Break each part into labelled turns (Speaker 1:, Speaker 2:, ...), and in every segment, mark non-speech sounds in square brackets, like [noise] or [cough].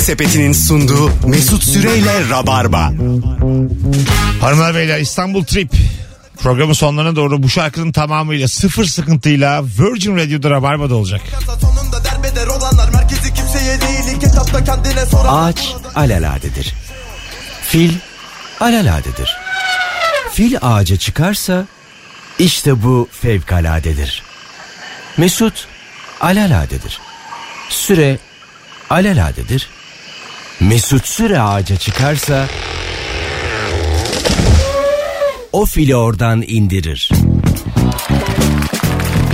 Speaker 1: Sepeti'nin sunduğu Mesut Süreyle Rabarba.
Speaker 2: Hanımlar beyler İstanbul Trip programın sonlarına doğru bu şarkının tamamıyla sıfır sıkıntıyla Virgin Radio'da Rabarba'da olacak.
Speaker 3: Sonunda derbeder olanlar merkezi kimseye değil ilk etapta kendine soran
Speaker 4: Ağaç alaladedir. Fil alaladedir. Fil ağaca çıkarsa işte bu fevkaladedir. Mesut alaladedir. Süre alaladedir. Mesut süre ağaca çıkarsa o fili oradan indirir.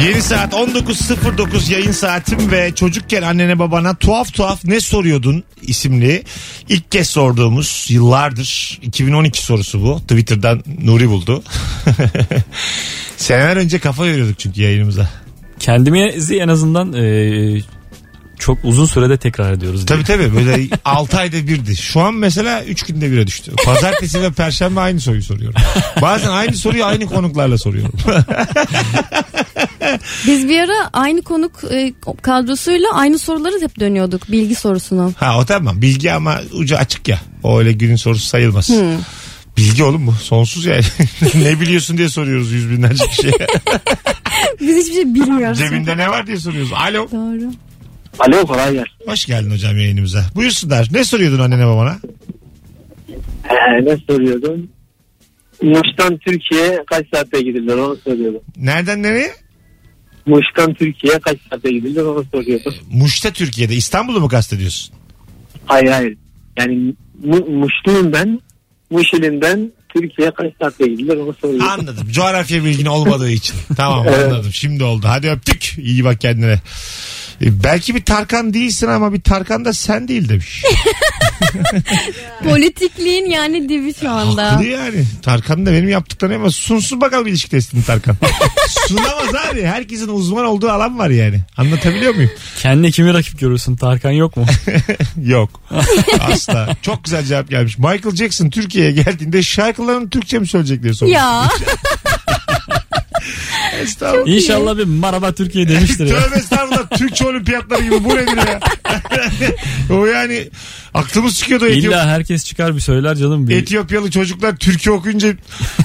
Speaker 2: Yeni saat 19.09 yayın saatim ve çocukken annene babana tuhaf tuhaf ne soruyordun isimli ilk kez sorduğumuz yıllardır 2012 sorusu bu. Twitter'dan Nuri buldu. [laughs] Seneler önce kafa yoruyorduk çünkü yayınımıza.
Speaker 5: Kendimizi en azından e, çok uzun sürede tekrar ediyoruz. diye.
Speaker 2: Tabii tabii böyle [laughs] 6 ayda birdi. Şu an mesela 3 günde bire düştü. Pazartesi ve perşembe aynı soruyu soruyorum. Bazen aynı soruyu aynı konuklarla soruyorum.
Speaker 6: Biz bir ara aynı konuk e, kadrosuyla aynı soruları hep dönüyorduk bilgi sorusunu.
Speaker 2: Ha o tamam bilgi ama ucu açık ya. O öyle günün sorusu sayılmaz. Bilgi oğlum bu sonsuz yani. [laughs] ne biliyorsun diye soruyoruz yüz binlerce kişiye.
Speaker 6: [laughs] Biz hiçbir şey bilmiyoruz.
Speaker 2: Cebinde ne var diye soruyoruz. Alo.
Speaker 6: Doğru.
Speaker 7: Alo kolay gelsin.
Speaker 2: Hoş geldin hocam yayınımıza. Buyursunlar. Ne soruyordun annene babana?
Speaker 7: Ee, ne soruyordum? Muş'tan Türkiye kaç saatte gidilir onu soruyordum.
Speaker 2: Nereden nereye?
Speaker 7: Muş'tan Türkiye kaç saatte gidilir onu soruyordum.
Speaker 2: Muş'ta Türkiye'de. İstanbul'u mu kastediyorsun?
Speaker 7: Hayır hayır. Yani Mu- Muşluyum ben. Muş ilinden Türkiye kaç saatte gidilir onu soruyordum.
Speaker 2: Anladım. Coğrafya bilgin olmadığı için. Tamam
Speaker 7: Evet.
Speaker 2: anladım. Şimdi oldu. Hadi öptük. İyi bak kendine. E, Belki bir Tarkan değilsin ama bir Tarkan da sen değil demiş.
Speaker 6: Politikliğin yani dibi şu anda.
Speaker 2: Haklı yani. Tarkan da benim yaptıklarım ama sunsun bakalım ilişki testini Tarkan. Sunamaz abi. Herkesin uzman olduğu alan var yani. Anlatabiliyor muyum?
Speaker 5: Kendine kimi rakip görürsün? Tarkan
Speaker 2: [laughs]
Speaker 5: yok mu?
Speaker 2: Yok. Asla. Çok güzel cevap gelmiş. Michael Jackson Türkiye'ye geldiğinde şarkılarını Türkçe mi söyleyecek diye sormuş.
Speaker 6: Ya
Speaker 2: Estağfurullah.
Speaker 5: İnşallah bir merhaba Türkiye demiştir ya.
Speaker 2: [laughs] Tövbe estağfurullah Türkçe olimpiyatları gibi bu nedir ya? [laughs] o yani aklımız çıkıyordu. Etiyop-
Speaker 5: İlla herkes çıkar bir söyler canım. Bir...
Speaker 2: Etiyopyalı çocuklar Türkiye okuyunca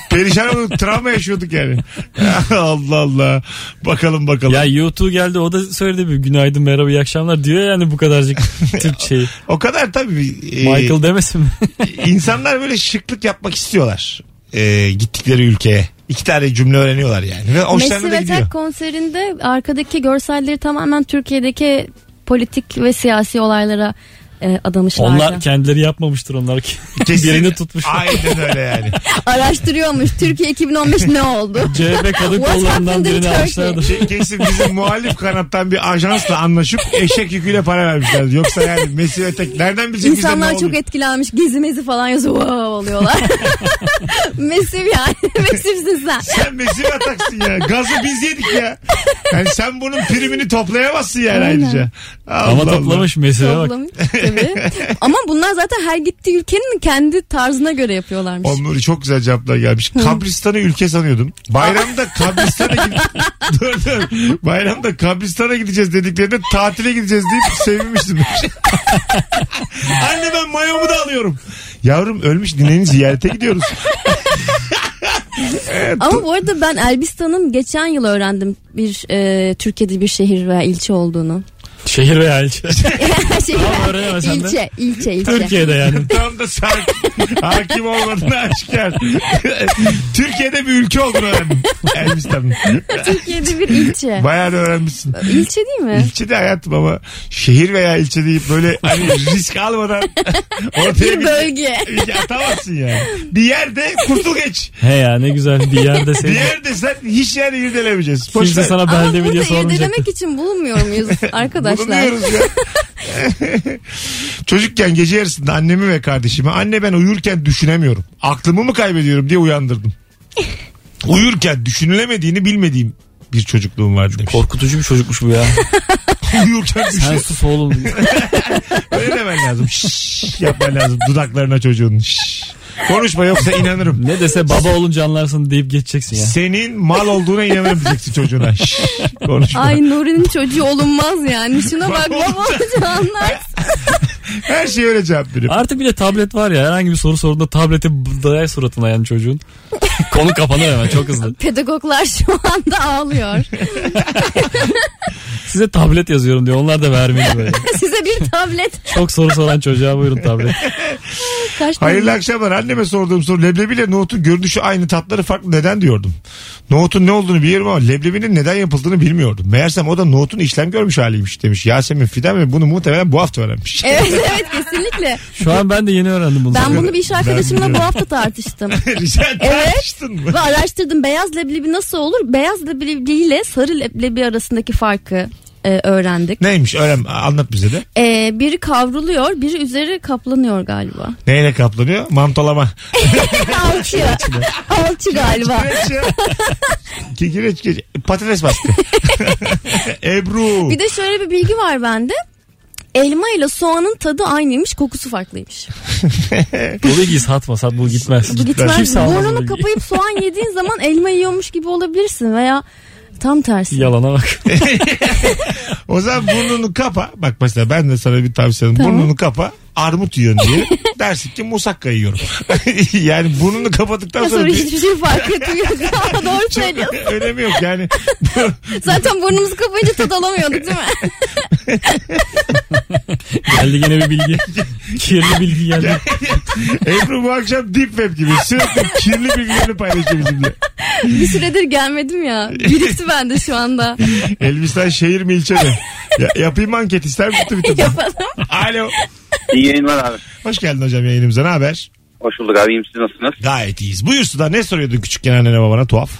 Speaker 2: perişan
Speaker 5: [laughs]
Speaker 2: olduk. Travma yaşıyorduk yani. [laughs] Allah Allah. Bakalım bakalım.
Speaker 5: Ya YouTube geldi o da söyledi bir günaydın merhaba iyi akşamlar diyor yani
Speaker 2: [laughs]
Speaker 5: bu kadarcık Türkçeyi.
Speaker 2: O kadar tabii. e,
Speaker 5: Michael demesin mi?
Speaker 2: insanlar böyle şıklık yapmak istiyorlar. E, gittikleri ülkeye. İki tane cümle öğreniyorlar yani. Ve hoşlarına da
Speaker 6: Messi ve
Speaker 2: gidiyor.
Speaker 6: Tek konserinde arkadaki görselleri tamamen Türkiye'deki politik ve siyasi olaylara e, adamışlardı.
Speaker 5: Onlar kendileri yapmamıştır onlar [laughs] ki.
Speaker 2: Kesin.
Speaker 5: Birini tutmuş.
Speaker 2: Aynen öyle yani.
Speaker 6: [laughs] Araştırıyormuş Türkiye 2015
Speaker 2: [laughs]
Speaker 6: ne oldu?
Speaker 5: CHP kadın
Speaker 6: What
Speaker 5: kollarından
Speaker 6: happened in
Speaker 5: birini
Speaker 6: Turkey?
Speaker 5: almışlardır.
Speaker 2: Ke- Kesin bizim muhalif kanattan bir ajansla anlaşıp eşek yüküyle para vermişler. Yoksa yani Messi ve Tek nereden bilecek bize ne
Speaker 6: İnsanlar
Speaker 2: oluyor?
Speaker 6: çok etkilenmiş gezi mezi falan yazıyor wow
Speaker 2: [laughs]
Speaker 6: oluyorlar. [laughs] Mesif yani [laughs] Mesif'sin sen.
Speaker 2: Sen Messi mi ataksın ya? Gazı biz yedik ya. Yani sen bunun primini toplayamazsın yani
Speaker 6: Aynen.
Speaker 2: ayrıca. Allah
Speaker 5: Ama
Speaker 2: Allah.
Speaker 5: toplamış mesela bak.
Speaker 6: Toplamış tabii. Ama bunlar zaten her gittiği ülkenin kendi tarzına göre yapıyorlarmış.
Speaker 2: Onları çok güzel cevaplar gelmiş. Kabristan'ı ülke sanıyordum. Bayramda Kabristan'a
Speaker 6: [laughs]
Speaker 2: gideceğiz. dur dur. Bayramda Kabristan'a gideceğiz dediklerinde tatile gideceğiz deyip sevinmiştim. [laughs] demiş. Anne ben mayomu da alıyorum. Yavrum ölmüş dineni ziyarete gidiyoruz.
Speaker 6: Ama bu arada ben Elbistan'ın geçen yıl öğrendim bir e, Türkiye'de bir şehir veya ilçe olduğunu. [laughs]
Speaker 5: Şehir veya ilçe.
Speaker 6: şehir
Speaker 5: Ama
Speaker 6: veya-
Speaker 5: öğrenemesen de.
Speaker 6: ilçe, ilçe, ilçe.
Speaker 5: Türkiye'de yani.
Speaker 6: [laughs]
Speaker 2: Tam da sen hakim olmadığını aşikar. Türkiye'de bir ülke olduğunu öğrendim. Elbistan'ın.
Speaker 6: Türkiye'de bir ilçe.
Speaker 2: Bayağı da öğrenmişsin.
Speaker 6: İlçe değil mi?
Speaker 2: İlçe de hayatım ama şehir veya ilçe deyip böyle hani risk almadan ortaya
Speaker 6: Bir
Speaker 2: bir
Speaker 6: bölge.
Speaker 2: İlgi atamazsın yani. Bir yerde kurtul geç.
Speaker 5: He ya ne güzel
Speaker 2: [laughs]
Speaker 5: bir yerde
Speaker 2: Bir
Speaker 5: seni.
Speaker 2: yerde sen hiç yerde irdelemeyeceğiz. Boş
Speaker 5: Kimse
Speaker 2: ver.
Speaker 5: sana
Speaker 6: Ama
Speaker 5: belde mi diye
Speaker 6: burada
Speaker 5: sormayacak.
Speaker 6: irdelemek için bulunmuyor muyuz
Speaker 2: Bunu
Speaker 6: arkadaşlar?
Speaker 2: diyoruz
Speaker 5: [laughs]
Speaker 2: ya. Çocukken gece yarısında annemi ve kardeşimi anne ben uyurken düşünemiyorum. Aklımı mı kaybediyorum diye
Speaker 5: [laughs]
Speaker 2: uyandırdım. uyurken düşünülemediğini bilmediğim bir çocukluğum vardı demiş.
Speaker 5: Korkutucu bir çocukmuş bu ya.
Speaker 2: uyurken
Speaker 5: Sen [laughs]
Speaker 2: düşün.
Speaker 5: sus oğlum.
Speaker 2: Öyle demen lazım. Şşş yapman lazım dudaklarına çocuğun. Şşş. Konuşma yoksa inanırım.
Speaker 5: Ne dese baba olunca anlarsın deyip geçeceksin ya.
Speaker 2: Senin mal olduğuna inanırım diyeceksin çocuğuna. Şşş, konuşma.
Speaker 6: Ay Nuri'nin çocuğu olunmaz yani. Şuna bak
Speaker 2: Baba
Speaker 6: baba olacağı anlarsın.
Speaker 2: Her şeye öyle cevap veriyorum.
Speaker 5: Artık bir de tablet var ya herhangi bir soru sorduğunda tableti dayar suratına yani çocuğun. Konu kapanıyor hemen çok hızlı.
Speaker 6: Pedagoglar şu anda ağlıyor. [laughs]
Speaker 5: Size tablet yazıyorum diyor. Onlar da vermeli böyle.
Speaker 6: Size bir tablet.
Speaker 5: Çok soru soran çocuğa buyurun tablet.
Speaker 6: Kaç
Speaker 2: Hayırlı akşamlar. Anneme sorduğum soru leblebiyle nohutun görünüşü aynı tatları farklı neden diyordum. Nohutun ne olduğunu biliyorum ama leblebinin neden yapıldığını bilmiyordum. Meğersem o da nohutun işlem görmüş haliymiş demiş. Yasemin Fidan ve bunu muhtemelen bu hafta öğrenmiş.
Speaker 6: Evet [laughs] evet kesinlikle.
Speaker 5: Şu an ben de yeni öğrendim bunu.
Speaker 6: Ben bunu bir iş
Speaker 2: Ben
Speaker 6: arkadaşımla bu
Speaker 2: biliyorum.
Speaker 6: hafta
Speaker 2: [laughs]
Speaker 6: tartıştım.
Speaker 2: Rica
Speaker 6: Evet.
Speaker 2: tartıştın mı?
Speaker 6: Ve araştırdım beyaz leblebi nasıl olur? Beyaz leblebi ile sarı leblebi arasındaki farkı e, öğrendik.
Speaker 2: Neymiş öğren anlat bize de.
Speaker 6: E, biri kavruluyor, biri üzeri kaplanıyor galiba.
Speaker 2: Neyle kaplanıyor? Mantolama.
Speaker 6: Alçı. Alçı galiba.
Speaker 2: Kireç ya. Ki- Kireç kireç. Patates
Speaker 6: [laughs]
Speaker 2: bastı. Ebru.
Speaker 6: Bir de şöyle bir bilgi var bende. Elma ile soğanın tadı aynıymış, kokusu farklıymış.
Speaker 5: Bu bilgiyi satma sat bu gitmez.
Speaker 6: Bu gitmez.
Speaker 5: Kimse almaz bu
Speaker 6: Burnunu
Speaker 5: bilgiyi.
Speaker 6: kapayıp soğan yediğin zaman elma yiyormuş gibi olabilirsin veya tam tersi.
Speaker 5: Yalana bak.
Speaker 2: O zaman burnunu kapa. Bak mesela ben de sana bir tavsiyem. Burnunu kapa. Armut yiyorsun
Speaker 6: [laughs]
Speaker 2: diye. Dersin ki musakka yiyorum. [laughs] yani burnunu kapattıktan
Speaker 6: Ya
Speaker 2: sonra
Speaker 6: sonra
Speaker 2: bir
Speaker 6: hiçbir şey fark etmiyor. [laughs] Doğru söylüyorsun.
Speaker 2: [laughs] önemi yok. Yani
Speaker 6: Zaten burnumuzu kapayınca tad alamıyorduk
Speaker 2: [laughs]
Speaker 6: değil mi?
Speaker 5: Geldi gene bir bilgi. Kirli bilgi geldi.
Speaker 2: Ebru bu akşam deep web gibi. Sürekli kirli bilgilerini paylaşıyor bizimle.
Speaker 6: Bir süredir gelmedim ya. Birikti bende
Speaker 2: [laughs]
Speaker 6: şu anda.
Speaker 2: Elbistan şehir mi ilçe mi? Ya- yapayım mı anket ister mi? Tabii, tabii.
Speaker 6: Yapalım.
Speaker 2: Alo.
Speaker 8: İyi yayınlar abi.
Speaker 2: Hoş geldin hocam yayınımıza. Ne haber?
Speaker 8: Hoş bulduk abi. İyiyim siz nasılsınız?
Speaker 2: Gayet iyiyiz. Buyursun da ne soruyordun küçükken annene babana tuhaf?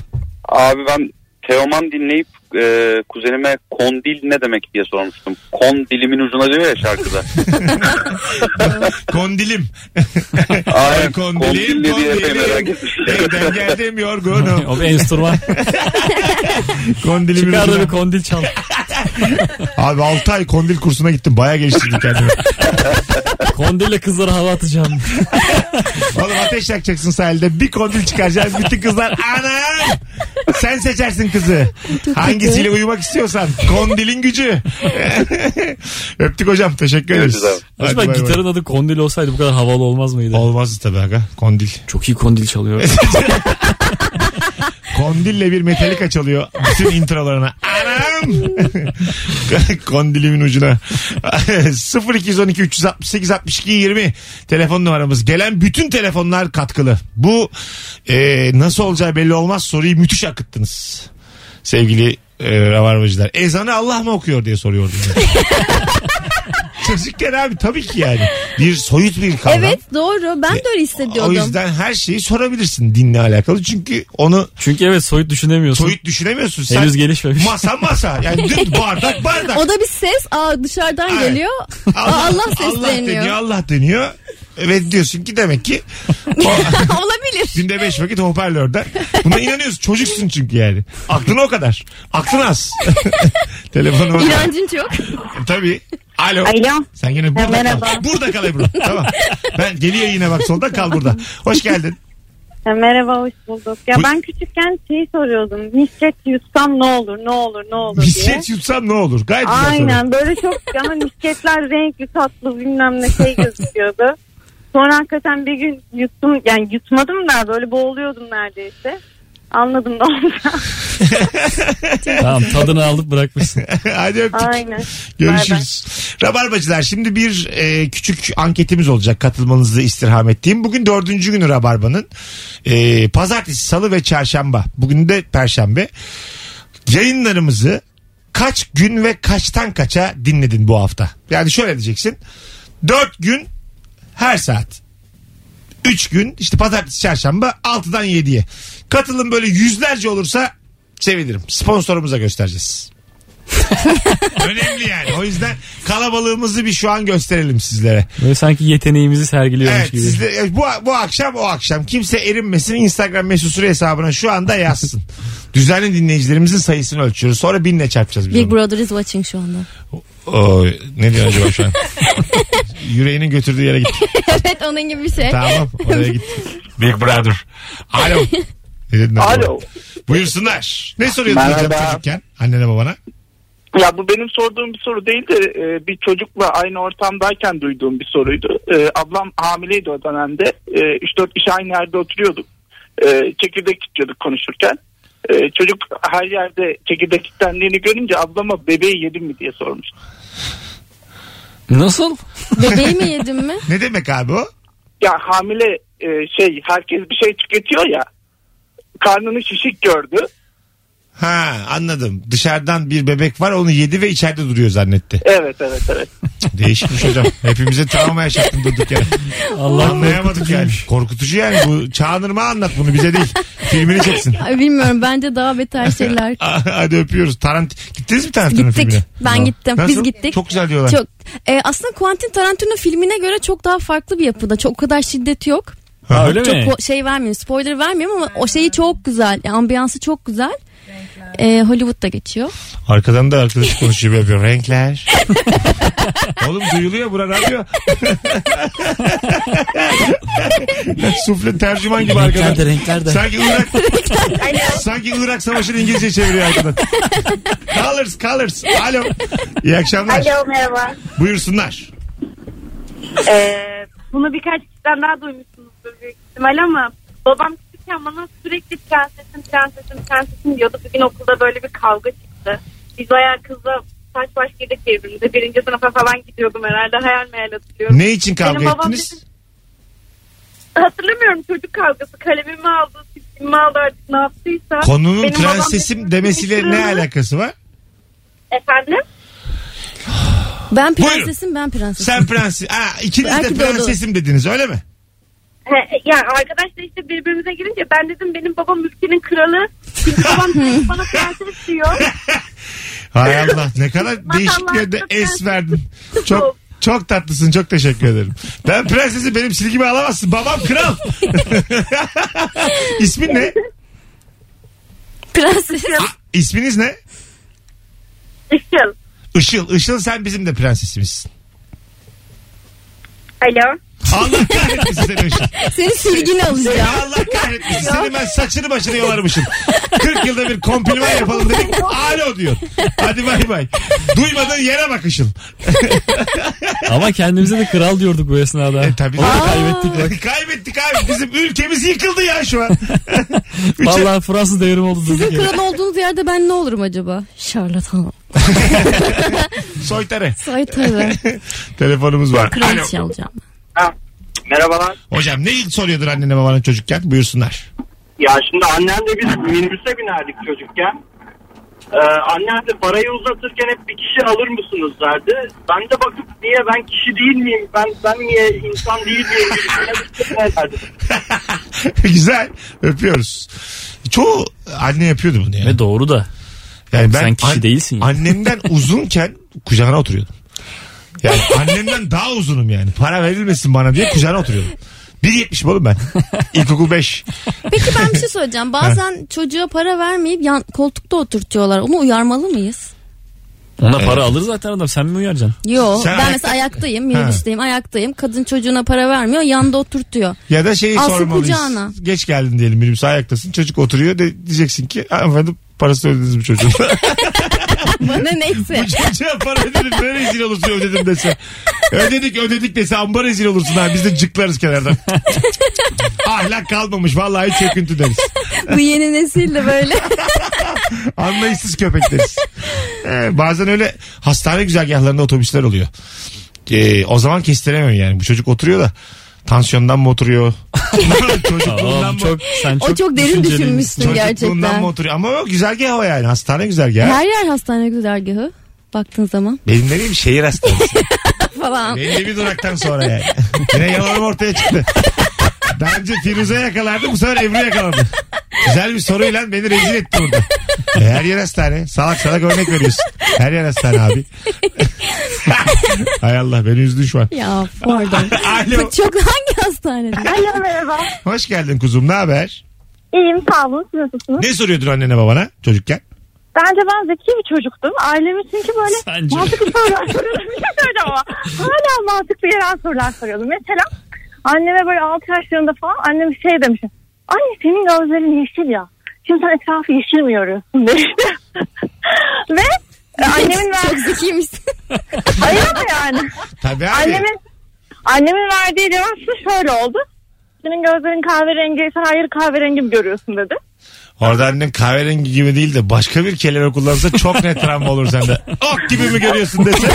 Speaker 8: Abi ben Teoman dinleyip e, kuzenime kondil ne demek diye sormuştum. Kon dilimin ucuna diyor ya [laughs] şarkıda.
Speaker 2: Kondilim.
Speaker 8: Aynen.
Speaker 2: kondilim,
Speaker 8: ne diye epey merak
Speaker 2: kondilim. Evden
Speaker 8: etmiştim.
Speaker 2: geldim yorgunum.
Speaker 5: [laughs] O bir enstrüman.
Speaker 2: Kondilimin
Speaker 5: Çıkar da bir
Speaker 2: ucuna.
Speaker 5: kondil çal.
Speaker 2: Abi 6 ay kondil kursuna gittim. Baya geliştirdim kendimi.
Speaker 5: Kondille kızlara hava atacağım.
Speaker 2: Oğlum ateş yakacaksın sahilde. Bir kondil çıkaracaksın. Bütün kızlar anam. Sen seçersin kızı. Hangisiyle uyumak istiyorsan. Kondilin gücü. [laughs] Öptük hocam. Teşekkür ederiz.
Speaker 8: Görüşürüz
Speaker 2: Hadi
Speaker 5: Acaba
Speaker 2: bay bay.
Speaker 5: gitarın adı kondil olsaydı bu kadar havalı olmaz mıydı?
Speaker 2: Olmaz tabii aga. Kondil.
Speaker 5: Çok iyi kondil çalıyor.
Speaker 2: Kondille bir metalik çalıyor bütün introlarına. Anam! [laughs] Kondilimin ucuna. [laughs] 0212 368 62 20 telefon numaramız. Gelen bütün telefonlar katkılı. Bu e, nasıl olacağı belli olmaz soruyu müthiş akıttınız. Sevgili e, ravarmacılar. Ezanı Allah mı okuyor diye soruyordum. [laughs] Çocukken abi tabii ki yani. Bir soyut bir kavram.
Speaker 6: Evet doğru. Ben de öyle
Speaker 2: O
Speaker 6: hissediyordum.
Speaker 2: yüzden her şeyi sorabilirsin dinle alakalı. Çünkü onu
Speaker 5: Çünkü evet soyut düşünemiyorsun.
Speaker 2: soyut düşünemiyorsun. Sen
Speaker 5: Henüz gelişmemiş.
Speaker 2: Masa masa. Yani
Speaker 6: [laughs]
Speaker 2: dün bardak bardak.
Speaker 6: O da bir ses aa, dışarıdan
Speaker 2: Evet. [laughs]
Speaker 6: geliyor. Aa, Allah sesleniyor.
Speaker 2: deniyor. Allah deniyor. Ve diyorsun ki demek ki
Speaker 6: [laughs] Olabilir.
Speaker 2: günde beş vakit hoparlörde. Buna inanıyorsun. Çocuksun çünkü yani. Aklın o kadar. Aklın az. [laughs] Telefonu E,
Speaker 6: İnancın çok.
Speaker 2: Tabii. Alo.
Speaker 9: Alo.
Speaker 2: Sen yine burada
Speaker 9: merhaba.
Speaker 2: kal. Burada kal Ebru. tamam. Ben geliyor yine bak solda kal burada. Hoş geldin.
Speaker 9: Ha, Merhaba hoş bulduk. Ya
Speaker 2: Bu-
Speaker 9: ben küçükken şeyi soruyordum. Misket yutsam ne olur ne olur ne olur diye.
Speaker 2: Misket yutsam ne olur? Gayet güzel soru.
Speaker 9: Aynen böyle çok ama misketler renkli tatlı bilmem ne şey gözüküyordu. Sonra hakikaten bir gün yuttum yani yutmadım da böyle boğuluyordum neredeyse. Anladım da ondan.
Speaker 5: Tamam tadını alıp
Speaker 2: [laughs]
Speaker 5: bırakmışsın.
Speaker 2: [laughs] Hadi öptük.
Speaker 9: [laughs] Aynen.
Speaker 2: Görüşürüz. Rabarbacılar şimdi bir e, küçük anketimiz olacak katılmanızı istirham ettiğim. Bugün dördüncü günü Rabarba'nın. E, pazartesi, salı ve çarşamba. Bugün de perşembe. Yayınlarımızı kaç gün ve kaçtan kaça dinledin bu hafta? Yani şöyle diyeceksin. Dört gün her saat. Üç gün işte pazartesi, çarşamba 6'dan 7'ye. Katılım böyle yüzlerce olursa sevinirim. Sponsorumuza göstereceğiz. Önemli yani. O yüzden kalabalığımızı bir şu an gösterelim sizlere.
Speaker 5: Böyle sanki yeteneğimizi sergiliyormuş
Speaker 2: Evet,
Speaker 5: gibi.
Speaker 2: sizle- e, bu, bu akşam o akşam. Kimse erinmesin. Instagram mesut süre hesabına şu anda [laughs] yazsın. Düzenli dinleyicilerimizin sayısını ölçüyoruz. Sonra binle çarpacağız biz
Speaker 6: Big
Speaker 2: onu.
Speaker 6: Brother is watching şu anda.
Speaker 2: Oo, ne diyor acaba şu an? Yüreğinin götürdüğü yere gitti.
Speaker 6: [laughs] evet onun gibi bir şey.
Speaker 2: Tamam oraya gitti. Big Brother. Alo. Ne dedin acaba?
Speaker 8: Alo.
Speaker 2: Buyursunlar. Ne soruyordun hocam
Speaker 8: Merhaba.
Speaker 2: çocukken? Annene babana.
Speaker 10: Ya bu benim sorduğum bir soru değil de e, bir çocukla aynı ortamdayken duyduğum bir soruydu. E, ablam hamileydi o dönemde. E, 3-4 kişi aynı yerde oturuyorduk. E, çekirdek kitliyorduk konuşurken. E, çocuk her yerde çekirdek kitlendiğini görünce ablama bebeği yedin mi diye sormuş.
Speaker 5: Nasıl?
Speaker 6: Bebeği mi yedim mi?
Speaker 2: Ne demek abi o?
Speaker 10: Ya hamile e, şey herkes bir şey tüketiyor ya. Karnını şişik gördü.
Speaker 2: Ha anladım. Dışarıdan bir bebek var onu yedi ve içeride duruyor zannetti.
Speaker 10: Evet evet evet.
Speaker 2: Değişmiş şey
Speaker 6: [laughs]
Speaker 2: hocam. Hepimize travma yaşattın durduk yere.
Speaker 5: Allah
Speaker 2: Anlayamadık yani. Korkutucu yani. Bu Çağınırma anlat bunu bize değil. Filmini
Speaker 6: [laughs]
Speaker 2: çeksin.
Speaker 6: Ay, bilmiyorum bence
Speaker 2: [laughs]
Speaker 6: daha beter şeyler.
Speaker 2: Hadi öpüyoruz. Tarant Gittiniz mi Tarantino
Speaker 6: gittik.
Speaker 2: filmine?
Speaker 6: Ben gittim.
Speaker 2: Nasıl?
Speaker 6: Biz gittik.
Speaker 2: Çok güzel diyorlar.
Speaker 6: Çok. E, aslında Quentin Tarantino filmine göre çok daha farklı bir yapıda. Çok o kadar şiddeti yok.
Speaker 2: Ha,
Speaker 5: öyle
Speaker 6: Çok
Speaker 5: mi?
Speaker 6: ko- şey vermiyorum. Spoiler vermiyorum ama o şeyi çok güzel. Yani ambiyansı çok güzel. E, Hollywood'da geçiyor.
Speaker 2: Arkadan da
Speaker 6: [laughs]
Speaker 2: arkadaş konuşuyor böyle yapıyor. Renkler. Oğlum duyuluyor bura
Speaker 6: [laughs]
Speaker 2: radyo. [laughs] Sufle tercüman gibi
Speaker 5: Renkler de
Speaker 2: arkadan.
Speaker 5: renkler de.
Speaker 2: Sanki Irak, sanki Irak Savaşı'nı İngilizce çeviriyor arkadan. colors, colors. Alo. İyi akşamlar.
Speaker 9: Alo merhaba.
Speaker 2: Buyursunlar.
Speaker 9: Ee, bunu birkaç kişiden daha duymuşsunuzdur büyük ihtimal ama babam küçükken bana sürekli prensesim prensesim prensesim diyordu. Bir gün okulda böyle bir kavga çıktı. Biz bayağı kızla saç baş girdik birbirimize. Birinci sınıfa falan gidiyordum herhalde hayal meyal hatırlıyorum.
Speaker 2: Ne için kavga
Speaker 9: Benim babam
Speaker 2: ettiniz?
Speaker 9: Hatırlamıyorum çocuk kavgası. Kalemimi aldı, silgimi aldı artık ne yaptıysa.
Speaker 2: Konunun
Speaker 9: Benim babam
Speaker 2: prensesim
Speaker 9: bizim
Speaker 2: demesiyle ne
Speaker 9: sınıfı-
Speaker 2: alakası var?
Speaker 9: Efendim?
Speaker 6: Ben
Speaker 2: Buyurun.
Speaker 6: prensesim ben prensesim.
Speaker 2: Sen prenses. Aa, ikiniz de
Speaker 6: Belki de o da-
Speaker 2: prensesim dediniz öyle mi?
Speaker 9: He, yani arkadaşlar işte birbirimize girince ben dedim benim babam ülkenin kralı. [laughs] Çünkü babam sürekli bana prenses diyor.
Speaker 2: Hay Allah ne kadar
Speaker 9: Maşallah,
Speaker 2: değişik bir yerde
Speaker 9: çok
Speaker 2: es
Speaker 9: prenses.
Speaker 2: verdin. Çok çok tatlısın çok teşekkür ederim. Ben prensesi benim silgimi alamazsın babam kral. [laughs] İsmin ne?
Speaker 6: Prenses.
Speaker 2: İsminiz ne?
Speaker 9: Işıl.
Speaker 2: Işıl. Işıl sen bizim de prensesimizsin.
Speaker 9: Alo. [laughs]
Speaker 2: Allah kahretmesin seni Işıl.
Speaker 6: [laughs] Senin silgini alacağım.
Speaker 2: Ya Allah kahretmesin seni ben saçını başını yolarmışım. 40 yılda bir kompliman yapalım dedim. Alo diyor. Hadi bay bay. Duymadığın yere bak Işıl.
Speaker 5: Ama kendimize de kral diyorduk bu esnada.
Speaker 2: E, tabii.
Speaker 5: Onu da
Speaker 2: Aa.
Speaker 5: kaybettik bak.
Speaker 2: [laughs] Kaybettik abi. Bizim ülkemiz yıkıldı ya şu an. Üçe-
Speaker 5: [laughs] Vallahi Fransız devrim oldu
Speaker 6: Sizin
Speaker 5: durduk yere.
Speaker 6: kral olduğunuz yerde ben ne olurum acaba? Şarlatan.
Speaker 2: Soytarı. [laughs]
Speaker 6: Soytarı.
Speaker 2: Telefonumuz var. Alo.
Speaker 6: Kraliçe alacağım.
Speaker 7: Merhabalar.
Speaker 2: Hocam ne ilk soruyordun annene babana çocukken? Buyursunlar.
Speaker 7: Ya şimdi annemle biz minibüse binerdik çocukken. Ee, annem de parayı uzatırken hep bir kişi alır mısınız derdi. Ben de bakıp niye ben kişi değil miyim? Ben ben niye insan değil miyim? gibisinden derdim.
Speaker 2: [laughs] Güzel. Öpüyoruz. Çoğu anne yapıyordu bunu yani.
Speaker 5: Ve E, doğru da.
Speaker 2: yani
Speaker 5: sen kişi değilsin ya. [laughs]
Speaker 2: Annemden uzunken kucağına oturuyordum. Yani annemden daha uzunum yani. Para verilmesin bana diye kucağına oturuyordum. 1.70 oğlum ben. İlkokul 5.
Speaker 6: Peki ben bir
Speaker 2: [laughs]
Speaker 6: şey söyleyeceğim. Bazen çocuğa para vermeyip yan koltukta oturtuyorlar. Onu uyarmalı mıyız?
Speaker 5: Ona para alır zaten adam. Sen mi uyaracaksın?
Speaker 6: Yo.
Speaker 2: Sen
Speaker 6: ben
Speaker 2: ayakta-
Speaker 6: mesela ayaktayım, minibüsteyim, ayaktayım. Kadın çocuğuna para vermiyor, yanda oturtuyor.
Speaker 2: Ya da şeyi
Speaker 6: Alsın
Speaker 2: sormalıyız.
Speaker 6: kucağına.
Speaker 2: Geç geldin diyelim minibüse ayaktasın. Çocuk oturuyor. De, diyeceksin ki hanımefendi parası ödediniz mi çocuğun?
Speaker 6: [laughs] Bana neyse.
Speaker 2: Çocuğa para ödedim ne rezil olursun ödedim dese. Ödedik ödedik dese amba rezil olursun ha. Biz de cıklarız kenardan. Ahlak kalmamış vallahi çöküntü deriz.
Speaker 6: [laughs] Bu yeni nesil de böyle.
Speaker 2: Anlayışsız köpek deriz. Ee, bazen öyle hastane güzergahlarında otobüsler oluyor. Ee, o zaman kestiremiyorum yani. Bu çocuk oturuyor da tansiyondan mı oturuyor? Çocukluğundan
Speaker 5: Oğlum
Speaker 2: mı?
Speaker 5: çok, sen
Speaker 6: O
Speaker 5: çok
Speaker 6: çok derin
Speaker 5: düşüncelisin.
Speaker 6: düşünmüşsün
Speaker 2: Çocukluğundan
Speaker 6: gerçekten.
Speaker 2: mı oturuyor? Ama o güzergah o yani. Hastane güzergahı.
Speaker 6: Her yer hastane güzergahı. Baktığın zaman [laughs]
Speaker 2: Benim dediğim şehir hastanesi.
Speaker 6: falan.
Speaker 2: Belli bir duraktan sonra yani. Yine yalanım ortaya çıktı. Daha önce Firuze yakalardı bu sefer Ebru yakaladı. Güzel bir soruyla beni rezil etti burada. E, her yer hastane. Salak salak örnek veriyorsun. Her yer hastane abi. [laughs] Hay Allah beni üzdün şu an.
Speaker 6: Ya pardon.
Speaker 2: [laughs] Alo.
Speaker 6: Bu çok hangi [laughs] hastanede?
Speaker 9: Alo merhaba.
Speaker 2: Hoş geldin kuzum ne haber?
Speaker 9: İyiyim sağ olun. Siz nasılsınız?
Speaker 2: Ne soruyordun annene babana çocukken?
Speaker 9: Bence ben zeki bir çocuktum. Ailemi çünkü böyle
Speaker 5: Sence?
Speaker 9: mantıklı sorular soruyordum. Bir şey söyleyeceğim ama hala mantıklı yerel sorular soruyordum. Mesela anneme böyle 6 yaşlarında falan annem şey demişim. Anne senin gözlerin yeşil ya. Şimdi sen etrafı yeşil mi yoruyorsun demişti. [laughs] Ve E, annemin
Speaker 6: Çok [laughs] zekiymişsin.
Speaker 9: Hayır ama yani.
Speaker 2: Tabii abi.
Speaker 9: Annemin, annemin verdiği cevap da şöyle oldu. Senin gözlerin kahverengi ise hayır kahverengim görüyorsun dedi.
Speaker 2: Orada annen kahverengi gibi değil de başka bir kelime kullansa çok net travma olur sende. Ok gibi mi görüyorsun dese.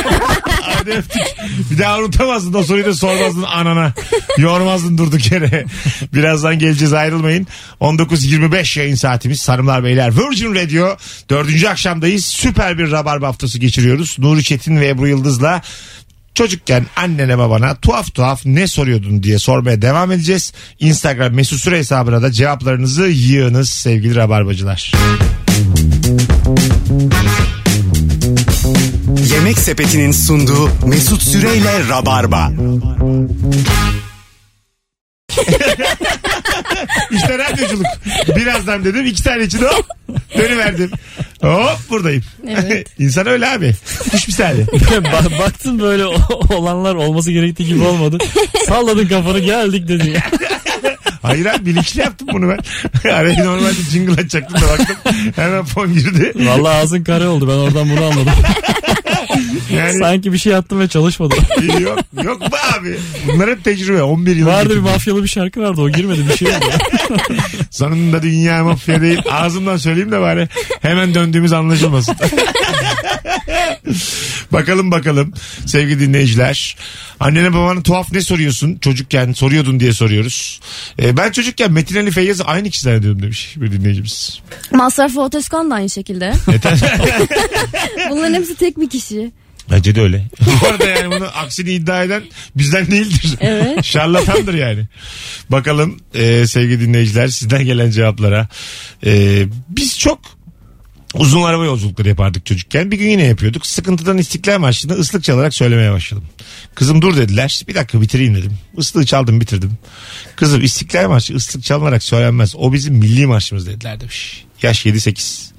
Speaker 2: Hadi öptük. Bir daha unutamazdın o soruyu da sormazdın anana. Yormazdın durduk yere. Birazdan geleceğiz ayrılmayın. 19.25 yayın saatimiz Sarımlar Beyler. Virgin Radio dördüncü akşamdayız. Süper bir rabarba haftası geçiriyoruz. Nuri Çetin ve Ebru Yıldız'la Çocukken annene babana tuhaf tuhaf ne soruyordun diye sormaya devam edeceğiz. Instagram mesut süre hesabına da cevaplarınızı yığınız sevgili rabarbacılar.
Speaker 1: Yemek Sepeti'nin sunduğu Mesut Süreyle Rabarba.
Speaker 2: İşte radyoculuk. Birazdan dedim iki tane için hop dönüverdim. Hop buradayım.
Speaker 6: Evet.
Speaker 2: [laughs] İnsan öyle abi. Kuş misali.
Speaker 5: [laughs] Ba- Baktın böyle o- olanlar olması gerektiği gibi
Speaker 6: [laughs]
Speaker 5: olmadı. Salladın kafanı geldik dedi.
Speaker 2: Hayır abi bilinçli yaptım bunu ben. [laughs] Araya normalde jingle açacaktım da baktım. Hemen fon girdi.
Speaker 5: Vallahi ağzın kare oldu ben oradan
Speaker 2: [laughs]
Speaker 5: bunu anladım.
Speaker 2: Yani
Speaker 5: Sanki bir şey attım ve çalışmadı.
Speaker 2: yok, yok be abi. Bunlar hep tecrübe. 11 yıl.
Speaker 5: Vardı bir
Speaker 2: önceki.
Speaker 5: mafyalı bir şarkı vardı o girmedi bir şey oldu.
Speaker 2: Sonunda dünya mafya değil. Ağzımdan söyleyeyim de bari hemen döndüğümüz anlaşılmasın. [laughs] bakalım bakalım sevgili dinleyiciler. Annene babana tuhaf ne soruyorsun? Çocukken soruyordun diye soruyoruz. Ee, ben çocukken Metin Ali Feyyaz aynı kişiler diyordum demiş bir dinleyicimiz.
Speaker 6: Masrafı Otoskan da aynı şekilde. [laughs] Bunların hepsi tek bir kişi.
Speaker 2: Bence de öyle. [laughs] Bu arada yani bunu aksini iddia eden bizden değildir.
Speaker 6: Evet.
Speaker 2: [laughs] Şarlatandır yani. Bakalım e, sevgili dinleyiciler sizden gelen cevaplara. E, biz çok uzun araba yolculukları yapardık çocukken. Bir gün yine yapıyorduk. Sıkıntıdan İstiklal Marşı'nı ıslık çalarak söylemeye başladım. Kızım dur dediler. Bir dakika bitireyim dedim. Islığı çaldım bitirdim. Kızım İstiklal Marşı ıslık çalınarak söylenmez. O bizim milli marşımız dediler demiş. Yaş 7-8.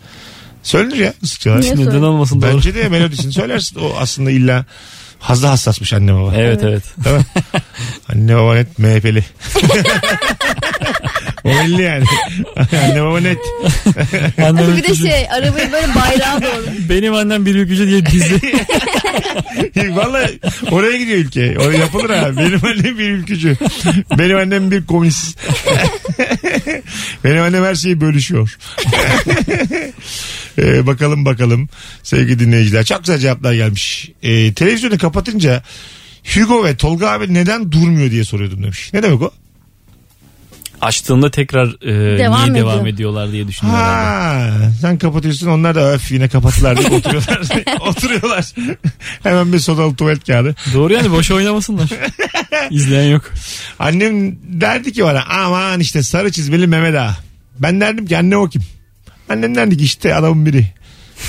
Speaker 2: Söylenir ya ıslık çalarak.
Speaker 6: Niye
Speaker 5: [laughs] Neden
Speaker 6: sorun?
Speaker 5: olmasın doğru.
Speaker 2: Bence de melodisini söylersin. O aslında illa hazda hassasmış anne baba.
Speaker 5: Evet [laughs] evet.
Speaker 2: Değil mi? anne baba net
Speaker 5: [laughs]
Speaker 2: MHP'li. o belli yani. anne baba net.
Speaker 5: Annemin
Speaker 6: bir de
Speaker 5: gücü-
Speaker 6: şey arabayı böyle bayrağa doğru.
Speaker 5: Benim annem bir ülkücü diye dizi.
Speaker 2: Valla oraya gidiyor ülke. Oraya yapılır ha. Benim annem bir ülkücü. Benim annem bir komünist. Benim annem her şeyi bölüşüyor. Ee, bakalım bakalım sevgili dinleyiciler. Çok güzel cevaplar gelmiş. Ee, televizyonu kapatınca Hugo ve Tolga abi neden durmuyor diye soruyordum demiş. Ne demek o?
Speaker 5: [laughs] Açtığında tekrar e,
Speaker 6: Devam
Speaker 5: niye
Speaker 6: ediyor.
Speaker 5: devam ediyorlar diye düşünüyorum. herhalde.
Speaker 2: Ha, sen kapatıyorsun onlar da öf yine kapattılar diye oturuyorlar. oturuyorlar. Hemen bir sodalı tuvalet kağıdı.
Speaker 5: Doğru yani boş [laughs] oynamasınlar. İzleyen yok.
Speaker 2: Annem derdi ki bana aman işte sarı çizmeli Mehmet Ağa. Ben derdim ki anne o kim? Annem derdi ki işte adamın biri.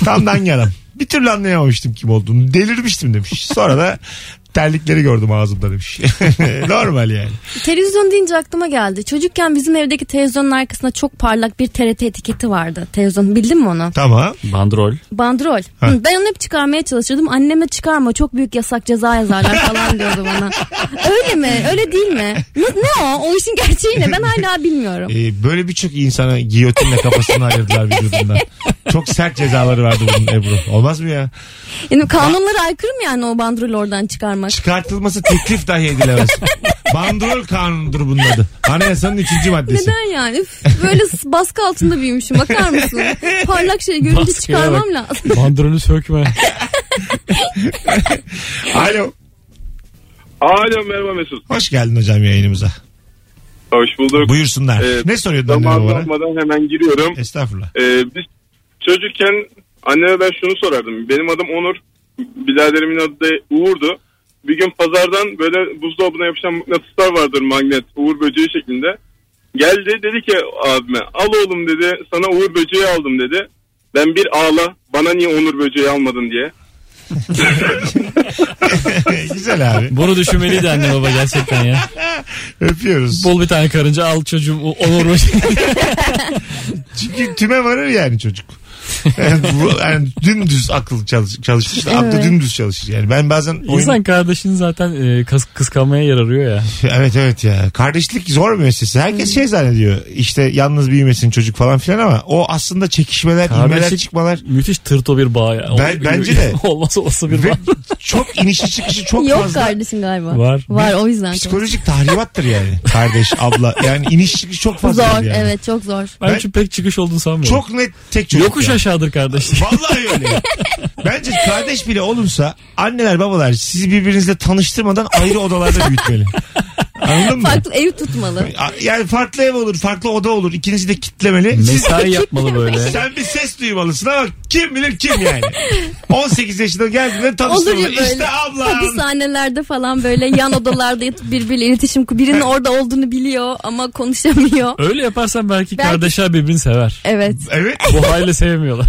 Speaker 2: Tam da hangi adam? Bir türlü anlayamamıştım kim olduğunu. Delirmiştim demiş. Sonra da terlikleri gördüm ağzımda demiş. [laughs] Normal yani.
Speaker 6: Televizyon deyince aklıma geldi. Çocukken bizim evdeki televizyonun arkasında çok parlak bir TRT etiketi vardı. Televizyon bildin mi onu?
Speaker 2: Tamam.
Speaker 5: Bandrol.
Speaker 6: Bandrol.
Speaker 2: Ha.
Speaker 6: Hı, Ben onu hep çıkarmaya çalışırdım. Anneme çıkarma çok büyük yasak ceza yazarlar falan
Speaker 2: [laughs]
Speaker 6: diyordu bana. Öyle mi? Öyle değil mi? Ne, ne o? O işin gerçeği ne? Ben hala bilmiyorum.
Speaker 2: Ee, böyle birçok insana giyotinle kafasını ayırdılar vücudundan. Çok sert cezaları vardı bunun Ebru. Olmaz mı ya?
Speaker 6: Yani kanunlara aykırı mı yani o bandrolü oradan çıkarmak?
Speaker 2: Çıkartılması teklif dahi
Speaker 5: [laughs]
Speaker 2: edilemez. Bandrol kanunudur bunun adı. Anayasanın üçüncü maddesi.
Speaker 6: Neden yani? Üf, böyle s- baskı altında büyümüşüm bakar mısın? Parlak şey görünce
Speaker 5: Baskıya
Speaker 6: çıkarmam
Speaker 5: bak.
Speaker 6: lazım.
Speaker 5: Bandrolü sökme.
Speaker 2: Alo.
Speaker 11: Alo merhaba Mesut.
Speaker 2: Hoş geldin hocam yayınımıza.
Speaker 11: Hoş bulduk.
Speaker 2: Buyursunlar.
Speaker 11: Ee,
Speaker 2: ne soruyordun
Speaker 11: Zaman
Speaker 2: anneme bana?
Speaker 11: olmadan hemen giriyorum.
Speaker 2: Estağfurullah. [laughs]
Speaker 11: Ee, biz çocukken anneme ben şunu sorardım. Benim adım Onur. Biraderimin adı da Uğur'du. Bir gün pazardan böyle buzdolabına yapışan mıknatıslar vardır magnet. Uğur böceği şeklinde. Geldi dedi ki abime al oğlum dedi sana Uğur böceği aldım dedi. Ben bir ağla bana niye Onur böceği almadın diye.
Speaker 2: Güzel abi.
Speaker 5: [laughs] Bunu düşünmeliydi anne baba gerçekten ya.
Speaker 2: Öpüyoruz.
Speaker 5: Bol bir tane şey. [laughs] karınca al çocuğum o- onur mu?
Speaker 2: Çünkü tüme varır yani çocuk. Yani, bu, yani dümdüz akıl çalış, çalışmış. da Aklı
Speaker 5: Evet.
Speaker 2: dümdüz çalışır. Yani ben bazen oyun-
Speaker 5: İnsan kardeşini zaten e, kıs- kıskanmaya yararıyor ya.
Speaker 2: Evet evet ya. Kardeşlik zor bir meselesi. Herkes şey zannediyor. İşte yalnız büyümesin çocuk falan filan ama o aslında çekişmeler, inmeler,
Speaker 5: Kardeşlik
Speaker 2: çıkmalar.
Speaker 5: Müthiş tırto bir bağ ya.
Speaker 2: Ben- bence
Speaker 5: [laughs]
Speaker 2: de.
Speaker 5: Olmazsa olsa bir bağ.
Speaker 2: Çok inişi çıkışı çok
Speaker 6: Yok
Speaker 2: fazla.
Speaker 6: kardeşin galiba.
Speaker 2: Var.
Speaker 6: Var o yüzden.
Speaker 2: Psikolojik tahribattır yani. Kardeş, abla. Yani iniş çıkış çok
Speaker 6: Zor
Speaker 2: fazla. yani.
Speaker 6: evet çok zor.
Speaker 5: Ben, çünkü pek çıkış olduğunu sanmıyorum.
Speaker 2: Çok net tek çocuk.
Speaker 5: Yokuş
Speaker 2: ya.
Speaker 5: aşağıdır kardeşlik.
Speaker 2: Vallahi öyle. Bence kardeş bile olursa anneler babalar sizi birbirinizle tanıştırmadan ayrı odalarda büyütmeli. Anladın mı?
Speaker 6: Farklı ev tutmalı.
Speaker 2: A- Yani farklı ev olur, farklı oda olur. İkinizi de kitlemeli.
Speaker 5: Mesai yapmalı böyle.
Speaker 2: Sen bir ses duymalısın ama kim bilir kim
Speaker 6: [laughs]
Speaker 2: yani. 18 yaşında geldiğinde
Speaker 6: Olur
Speaker 2: tanıştırmalı.
Speaker 6: ya böyle
Speaker 2: İşte ablam.
Speaker 6: hapishanelerde falan böyle yan odalarda yatıp birbiriyle iletişim kur- birinin orada olduğunu biliyor ama konuşamıyor.
Speaker 5: Öyle yaparsan belki,
Speaker 6: Belki-
Speaker 5: kardeşler birbirini sever.
Speaker 6: Evet.
Speaker 2: Evet.
Speaker 5: Bu haliyle [laughs] sevmiyorlar.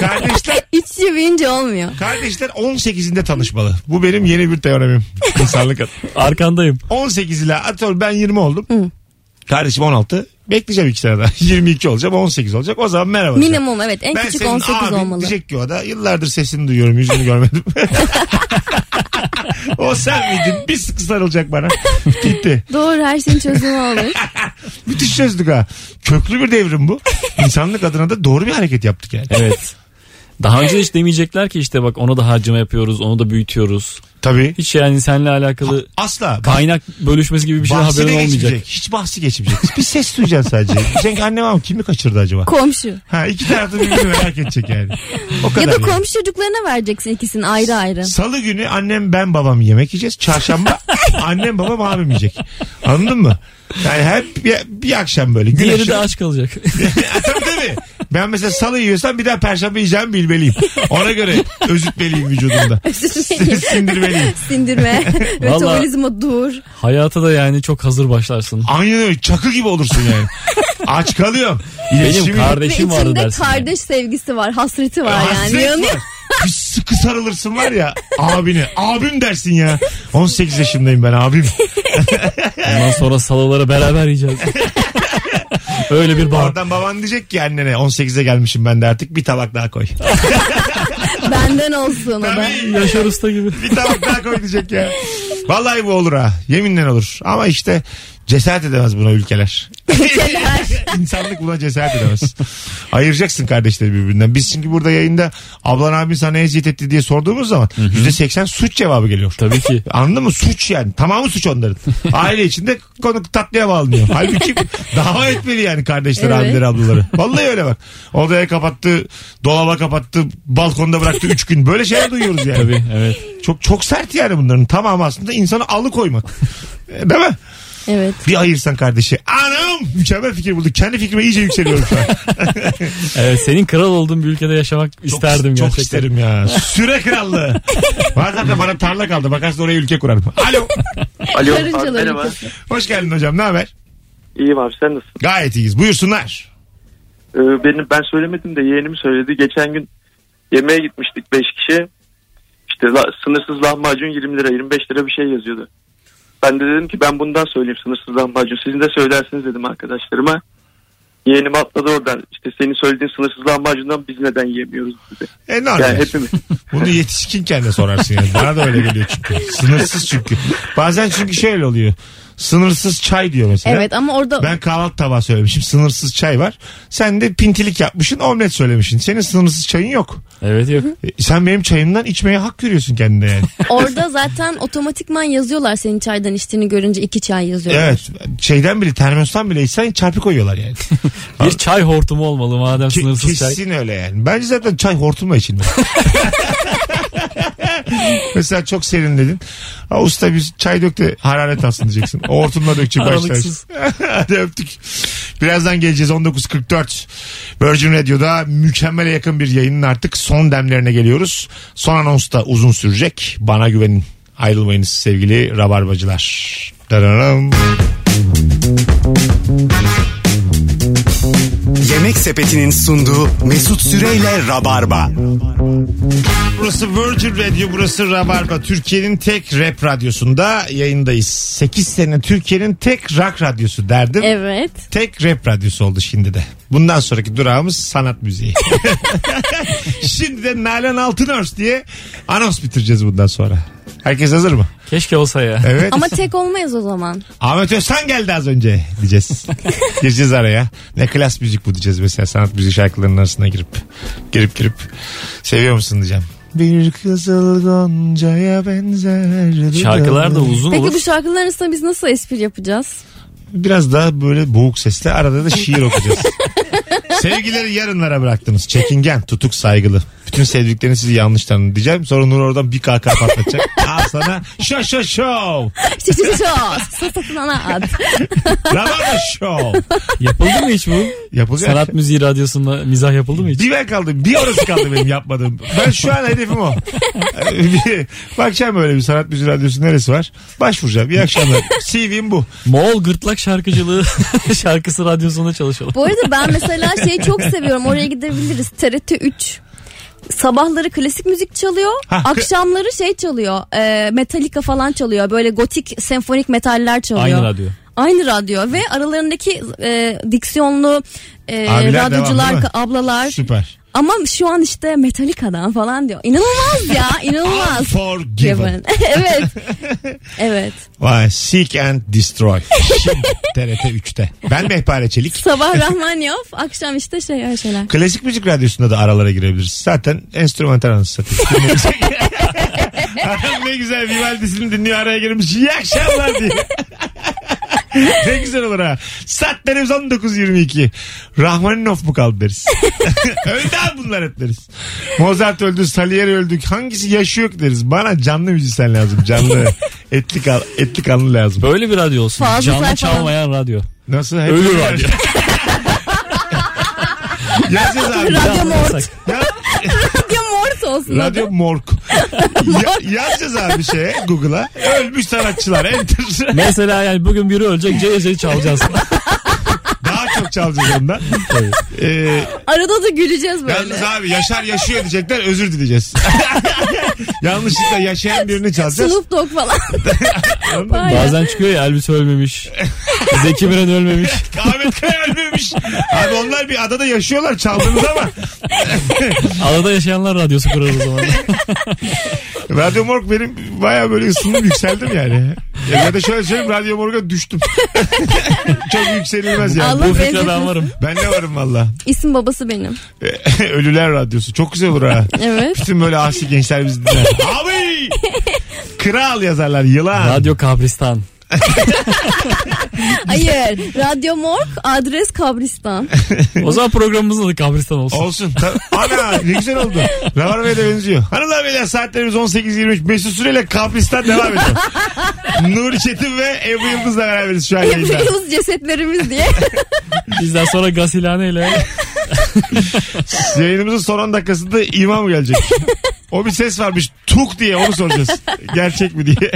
Speaker 2: Kardeşler
Speaker 6: İç içe büyüyünce olmuyor.
Speaker 2: kardeşler 18'inde tanışmalı. Bu benim yeni bir teoremim. İnsanlık adına.
Speaker 5: Arkandayım.
Speaker 2: 18 ile atıyorum ben 20 oldum. Kardeşim 16. Bekleyeceğim 2 sene daha. [laughs] 22 olacağım 18 olacak. O zaman merhaba. diyeceğim.
Speaker 6: Minimum evet en
Speaker 2: ben
Speaker 6: küçük
Speaker 2: senin
Speaker 6: 18
Speaker 2: abin
Speaker 6: olmalı.
Speaker 2: diyecek ki o da yıllardır sesini duyuyorum yüzünü görmedim. [laughs] o sen miydin? Bir sıkı sarılacak bana. Gitti.
Speaker 6: Doğru her şeyin çözümü olur.
Speaker 2: [laughs] Müthiş çözdük ha. Köklü bir devrim bu. İnsanlık adına da doğru bir hareket yaptık yani.
Speaker 5: Evet. Daha önce hiç demeyecekler ki işte bak ona da harcama yapıyoruz, onu da büyütüyoruz.
Speaker 2: Tabii.
Speaker 5: Hiç yani seninle alakalı
Speaker 2: Asla.
Speaker 5: kaynak bölüşmesi gibi bir şey
Speaker 2: bahsi de
Speaker 5: haberin
Speaker 2: geçmeyecek.
Speaker 5: olmayacak.
Speaker 2: Hiç bahsi geçmeyecek. Bir ses duyacaksın
Speaker 5: [laughs]
Speaker 2: sadece. Diyeceksin ki annem ama kimi kaçırdı acaba?
Speaker 6: Komşu.
Speaker 2: Ha iki tarafta birbirini merak edecek yani. O kadar
Speaker 6: Ya da
Speaker 2: yani.
Speaker 6: komşu çocuklarına vereceksin ikisini
Speaker 2: [laughs]
Speaker 6: ayrı ayrı.
Speaker 2: Salı günü annem ben babam yemek yiyeceğiz.
Speaker 6: [laughs]
Speaker 2: Çarşamba annem babam abim yiyecek. Anladın mı? Yani hep bir, bir akşam böyle. Gün
Speaker 5: Diğeri
Speaker 2: aşırı- [laughs]
Speaker 5: de aç kalacak.
Speaker 2: Tabii tabii. Ben mesela salı yiyorsam bir daha perşembe yiyeceğimi bilmeliyim. Ona göre özütmeliyim vücudumda. Sindirmeliyim. [laughs]
Speaker 6: Sindirme. Metabolizma dur.
Speaker 5: Hayata da yani çok hazır başlarsın.
Speaker 2: Aynen öyle. Çakı gibi olursun yani. Aç kalıyorum.
Speaker 5: Benim
Speaker 6: Ve
Speaker 5: kardeşim vardı
Speaker 6: içinde
Speaker 5: dersin.
Speaker 6: kardeş sevgisi var. Hasreti var
Speaker 2: Hasret
Speaker 6: yani. Yanıyor.
Speaker 2: var. Bir sıkı sarılırsın var ya abine. Abim dersin ya. 18 yaşındayım ben abim.
Speaker 5: Ondan sonra salaları beraber [laughs] yiyeceğiz. Öyle bir bağ.
Speaker 2: Oradan baban diyecek ki annene 18'e gelmişim ben de artık bir tabak daha koy.
Speaker 6: Benden olsun o da.
Speaker 2: Tabii.
Speaker 5: Yaşar Usta gibi.
Speaker 2: bir tabak daha koy diyecek ya. Vallahi bu olur ha. Yeminle olur. Ama işte cesaret edemez buna ülkeler. [laughs] İnsanlık buna cesaret edemez. Ayıracaksın kardeşleri birbirinden. Biz çünkü burada yayında ablan abin sana eziyet etti diye sorduğumuz zaman %80 suç cevabı geliyor.
Speaker 5: Tabii ki.
Speaker 2: Anladın mı? Suç yani. Tamamı suç onların. Aile içinde konu tatlıya bağlanıyor. Halbuki dava etmeli yani kardeşler,
Speaker 6: Evet.
Speaker 2: abileri, ablaları. Vallahi öyle bak. Odaya kapattı, dolaba kapattı, balkonda bıraktı 3 gün. Böyle şeyler duyuyoruz yani.
Speaker 5: Tabii evet.
Speaker 2: Çok çok sert yani bunların tamamı aslında insanı alıkoymak. E, Değil mi?
Speaker 6: Evet.
Speaker 2: Bir ayırsan kardeşi. Anam! Mükemmel fikir bulduk. Kendi fikrime iyice yükseliyorum şu an.
Speaker 5: Evet senin kral olduğun bir ülkede yaşamak isterdim
Speaker 2: çok,
Speaker 5: gerçekten.
Speaker 2: Çok isterim ya. Süre krallığı. Var zaten bana tarla kaldı. Bakarsın oraya ülke kurarım. Alo.
Speaker 12: Alo abi,
Speaker 6: Karıncaların
Speaker 12: merhaba.
Speaker 6: kızı.
Speaker 2: Hoş geldin hocam. Ne haber?
Speaker 12: İyiyim abi sen nasılsın?
Speaker 2: Gayet iyiyiz. Buyursunlar.
Speaker 12: Ee, benim, ben söylemedim de yeğenim söyledi. Geçen gün yemeğe gitmiştik 5 kişi. İşte la- sınırsız lahmacun 20 lira 25 lira bir şey yazıyordu. Ben de dedim ki ben bundan söyleyeyim sınırsız lahmacun. Sizin de söylersiniz dedim arkadaşlarıma. Yeğenim atladı oradan. İşte senin söylediğin sınırsız lahmacundan biz neden yiyemiyoruz dedi.
Speaker 2: E normal.
Speaker 12: Yani
Speaker 9: [laughs]
Speaker 12: hepimiz.
Speaker 2: Bunu yetişkinken de sorarsın yani. Bana da öyle geliyor çünkü. Sınırsız çünkü. Bazen çünkü şöyle oluyor. Sınırsız çay diyor mesela.
Speaker 6: Evet ama orada
Speaker 2: Ben kahvaltı tabağı söylemişim. Sınırsız çay var. Sen de pintilik yapmışsın. Omlet söylemişsin. Senin sınırsız çayın yok.
Speaker 5: Evet yok.
Speaker 2: E, sen benim çayımdan içmeye hak görüyorsun kendine yani.
Speaker 6: [laughs] orada zaten otomatikman yazıyorlar senin çaydan içtiğini görünce iki çay yazıyorlar.
Speaker 2: evet. Şeyden bile termostan bile içsen çarpı koyuyorlar yani.
Speaker 5: Bir çay hortumu olmalı madem
Speaker 2: Ke-
Speaker 5: sınırsız çay.
Speaker 2: kesin öyle yani. Bence zaten çay hortumla içilmez. Mesela çok serinledin. Ha, usta biz çay dök de hararet alsın diyeceksin. O hortumla dökecek başlar.
Speaker 5: Aralıksız.
Speaker 2: [laughs] Hadi öptük. Birazdan geleceğiz 19.44. Virgin Radio'da mükemmele yakın bir yayının artık son demlerine geliyoruz. Son anons da uzun sürecek. Bana güvenin. Ayrılmayınız sevgili rabarbacılar. Dararam.
Speaker 1: Yemek Sepeti'nin sunduğu Mesut Süreyle Rabarba.
Speaker 2: Burası Virgin Radio, burası Rabarba. Türkiye'nin tek rap radyosunda yayındayız. 8 sene Türkiye'nin tek rock radyosu derdim.
Speaker 6: Evet.
Speaker 2: Tek rap radyosu oldu şimdi de. Bundan sonraki durağımız sanat müziği. şimdi de Nalan Altınörs diye anons bitireceğiz bundan sonra. Herkes hazır mı?
Speaker 5: Keşke olsa ya.
Speaker 2: Evet.
Speaker 6: Ama tek olmayız o zaman.
Speaker 2: Ahmet Özhan geldi az önce
Speaker 5: [laughs]
Speaker 2: diyeceğiz. Gireceğiz araya. Ne klas müzik bu diyeceğiz mesela sanat müziği şarkılarının arasına girip. Girip girip. Seviyor musun diyeceğim. Bir kızıl goncaya benzer.
Speaker 5: Şarkılar da uzun
Speaker 6: Peki
Speaker 5: olur.
Speaker 6: bu şarkıların arasında biz nasıl espri yapacağız?
Speaker 2: Biraz daha böyle boğuk sesle arada da şiir okuyacağız. [laughs] Sevgileri yarınlara bıraktınız. Çekingen, tutuk, saygılı. Bütün sevdiklerini sizi yanlış tanıdı diyeceğim. Sonra Nur oradan bir kahkaha patlatacak. Al sana şo şo şov.
Speaker 6: Şişt şişt şişt. Satın ana at.
Speaker 2: Rabarba şov.
Speaker 6: şey-
Speaker 5: Yapıldı mı hiç bu?
Speaker 2: Yapılacak. şey.
Speaker 5: Sanat müziği radyosunda mizah yapıldı mı hiç?
Speaker 2: Bir ben kaldım. Bir orası kaldı benim yapmadığım. Ben şu an hedefim o. Bir- Bakacağım böyle bir sanat müziği radyosu neresi var? Başvuracağım. İyi akşamlar. CV'm bu.
Speaker 5: Moğol gırtlak şarkıcılığı [laughs] şarkısı radyosunda çalışalım.
Speaker 6: Bu arada ben mesela şeyi çok seviyorum. Oraya gidebiliriz. TRT 3. Sabahları klasik müzik çalıyor.
Speaker 2: Ha, kı-
Speaker 6: akşamları şey çalıyor. E, Metallica falan çalıyor. Böyle gotik senfonik metaller çalıyor.
Speaker 5: Aynı radyo.
Speaker 6: Aynı radyo ve aralarındaki e, diksiyonlu e,
Speaker 2: Abiler devam,
Speaker 6: radyocular,
Speaker 2: değil mi?
Speaker 6: ka- ablalar.
Speaker 2: Süper.
Speaker 6: Ama şu an işte Metallica'dan falan diyor. İnanılmaz
Speaker 2: [laughs]
Speaker 6: ya inanılmaz.
Speaker 2: Unforgiven.
Speaker 6: [laughs]
Speaker 2: [laughs]
Speaker 6: evet. Evet.
Speaker 2: Vay, Seek and Destroy. Şimdi [laughs] TRT 3'te. Ben Mehpare Çelik.
Speaker 6: Sabah Rahmaniyov, akşam işte şey her şeyler.
Speaker 2: Klasik müzik radyosunda da aralara girebiliriz. Zaten enstrümantal anısı satıyor. Dinleyecek. Adam ne güzel Vivaldi'sini dinliyor araya girmiş. İyi akşamlar diye. ne güzel olur ha. Saatlerimiz 19.22. Rahmaninov mu kaldı deriz. [laughs] öldü abi bunlar hep deriz. Mozart öldü, Salieri öldü. Hangisi yaşıyor ki deriz. Bana canlı müzisyen lazım. Canlı. etli, kal, etli kanlı lazım.
Speaker 5: Böyle bir radyo olsun.
Speaker 6: Fazla
Speaker 5: Canlı
Speaker 6: sayfalar.
Speaker 5: çalmayan radyo.
Speaker 2: Nasıl? Hep
Speaker 5: Ölü radyo.
Speaker 2: Yazacağız
Speaker 5: [laughs]
Speaker 2: abi.
Speaker 6: Radyo Mort.
Speaker 2: Ya-
Speaker 6: [laughs] Radyo Mort olsun.
Speaker 2: Radyo [laughs] Mork. ya, yazacağız abi şeye Google'a. Ölmüş sanatçılar. [laughs] Enter.
Speaker 5: Mesela yani bugün biri ölecek CC
Speaker 6: [laughs]
Speaker 5: çalacağız.
Speaker 2: Daha çok çalacağız ondan. Ee,
Speaker 6: Arada da güleceğiz böyle.
Speaker 2: yalnız abi Yaşar yaşıyor diyecekler özür dileyeceğiz. [laughs] Yanlışlıkla yaşayan birini çalacağız.
Speaker 6: Snoop Dogg
Speaker 2: [laughs]
Speaker 6: falan.
Speaker 2: Anladın mı?
Speaker 6: Bayağı.
Speaker 5: Bazen çıkıyor ya Elvis ölmemiş. Zeki Müren ölmemiş.
Speaker 2: Ahmet Kaya ölmemiş. Abi onlar bir adada yaşıyorlar çaldınız ama.
Speaker 5: Adada yaşayanlar radyosu kurarız o zaman.
Speaker 2: Radyo Morg benim baya böyle ısındım yükseldim yani. Ya da şöyle söyleyeyim Radyo Morg'a düştüm. [laughs] çok yükselilmez yani.
Speaker 6: Allah
Speaker 5: Bu fikre ben
Speaker 6: benzesin.
Speaker 5: varım.
Speaker 2: Ben de varım valla.
Speaker 6: İsim babası benim.
Speaker 2: [laughs] Ölüler Radyosu. Çok güzel olur ha. [laughs]
Speaker 6: Evet.
Speaker 2: Bütün böyle asi gençler bizi dinler. Abi! Kral yazarlar yılan.
Speaker 5: Radyo Kabristan.
Speaker 6: Hayır. Radyo Morg adres kabristan.
Speaker 5: O zaman programımızın adı Kabristan olsun.
Speaker 2: Olsun. Ta- Ana ne güzel oldu. Rabarba'ya da benziyor. Hanımlar beyler saatlerimiz 18.23. Mesut Süreyle Kapristan devam ediyor. Nuri Çetin ve Ebru Yıldız'la beraberiz şu an yayında.
Speaker 6: [laughs] Yapıyoruz
Speaker 2: [laughs]
Speaker 6: cesetlerimiz diye.
Speaker 5: Bizden sonra Gasilhane ile
Speaker 2: Yayınımızın son 10 dakikasında imam gelecek. O bir ses varmış tuk diye onu soracağız. Gerçek mi diye. [laughs]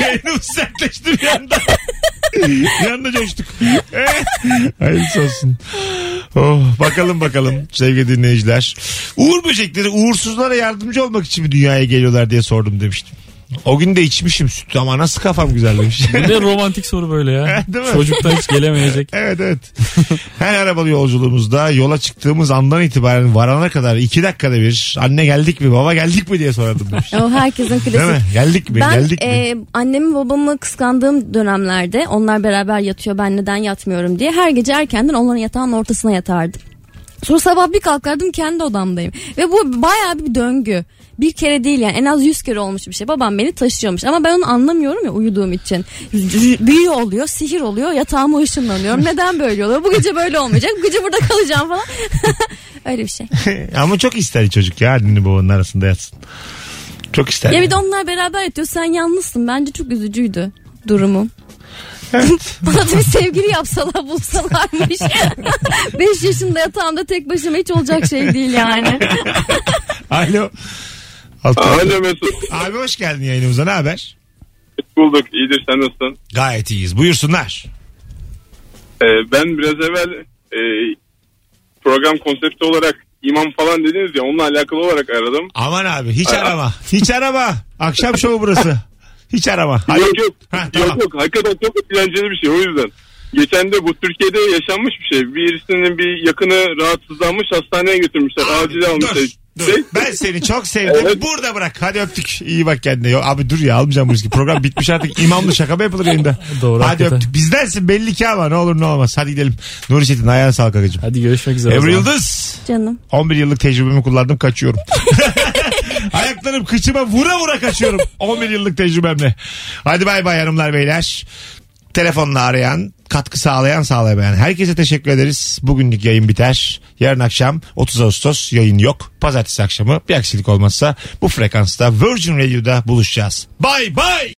Speaker 2: Yayınımız sertleşti bir anda. bir anda coştuk. Eh, Hayırlısı olsun. Oh, bakalım bakalım sevgili dinleyiciler. Uğur böcekleri uğursuzlara yardımcı olmak için mi dünyaya geliyorlar diye sordum demiştim. O gün de içmişim sütü ama nasıl kafam güzel demiş.
Speaker 5: Bir de romantik soru böyle ya.
Speaker 2: [laughs] Değil mi?
Speaker 5: Çocuktan hiç gelemeyecek.
Speaker 2: Evet evet. [laughs] Her arabalı yolculuğumuzda yola çıktığımız andan itibaren varana kadar iki dakikada bir anne geldik mi baba geldik mi diye sorardım demiş.
Speaker 6: O herkesin
Speaker 2: Değil mi?
Speaker 6: klasik.
Speaker 2: Geldik mi?
Speaker 6: Ben
Speaker 2: geldik mi?
Speaker 6: e, annemi babamı kıskandığım dönemlerde onlar beraber yatıyor ben neden yatmıyorum diye her gece erkenden onların yatağının ortasına yatardım. Sonra sabah bir kalkardım kendi odamdayım. Ve bu bayağı bir döngü. Bir kere değil yani en az yüz kere olmuş bir şey. Babam beni taşıyormuş ama ben onu anlamıyorum ya uyuduğum için. R- r- Büyü oluyor, sihir oluyor, yatağıma ışınlanıyorum. Neden böyle oluyor? Bu gece böyle olmayacak. Bu gece burada kalacağım falan. [laughs] Öyle bir şey.
Speaker 2: Ama çok ister çocuk ya annenin babanın arasında yatsın. Çok ister.
Speaker 6: Ya bir de onlar beraber yatıyor. Sen yalnızsın. Bence çok üzücüydü durumum.
Speaker 2: [laughs] Evet.
Speaker 6: Bana da bir sevgili yapsalar bulsalarmış. [laughs] 5 yaşında yatağımda tek başıma hiç olacak şey değil yani.
Speaker 2: Alo. Alt-
Speaker 11: Alo Mesut.
Speaker 2: Abi hoş geldin yayınımıza ne haber?
Speaker 11: Bulduk. İyidir sen nasılsın?
Speaker 2: Gayet iyiyiz buyursunlar.
Speaker 11: Ee, ben biraz evvel
Speaker 9: e, program konsepti olarak imam falan dediniz ya onunla alakalı olarak aradım.
Speaker 2: Aman abi hiç arama. Hiç arama. Akşam şovu burası. Hiç arama. Hadi.
Speaker 9: Yok yok.
Speaker 2: Ha,
Speaker 9: yok
Speaker 2: tamam.
Speaker 9: yok. Hakikaten çok eğlenceli bir şey o yüzden. Geçen de bu Türkiye'de yaşanmış bir şey. Birisinin bir yakını rahatsızlanmış hastaneye götürmüşler. Acil almışlar.
Speaker 2: Dur, ben seni çok sevdim. Burada bırak. Hadi öptük. İyi bak kendine. Yo, abi dur ya almayacağım bu riski. Program bitmiş artık. İmamlı şaka mı yapılır yayında?
Speaker 5: Doğru,
Speaker 2: Hadi
Speaker 5: hakikaten.
Speaker 2: öptük. Bizdensin belli ki ama ne olur ne olmaz. Hadi gidelim. Nuri Çetin ayağına sağlık akıcım.
Speaker 5: Hadi görüşmek üzere. o
Speaker 2: Ebru
Speaker 5: zaman.
Speaker 2: Yıldız.
Speaker 6: Canım.
Speaker 2: 11 yıllık tecrübemi kullandım kaçıyorum. [laughs] Ayaklarım kıçıma vura vura kaçıyorum. 11 yıllık tecrübemle. Hadi bay bay hanımlar beyler. Telefonla arayan, katkı sağlayan, sağlamayan. Herkese teşekkür ederiz. Bugünlük yayın biter. Yarın akşam 30 Ağustos yayın yok. Pazartesi akşamı bir aksilik olmazsa bu frekansta Virgin Radio'da buluşacağız. Bay bay.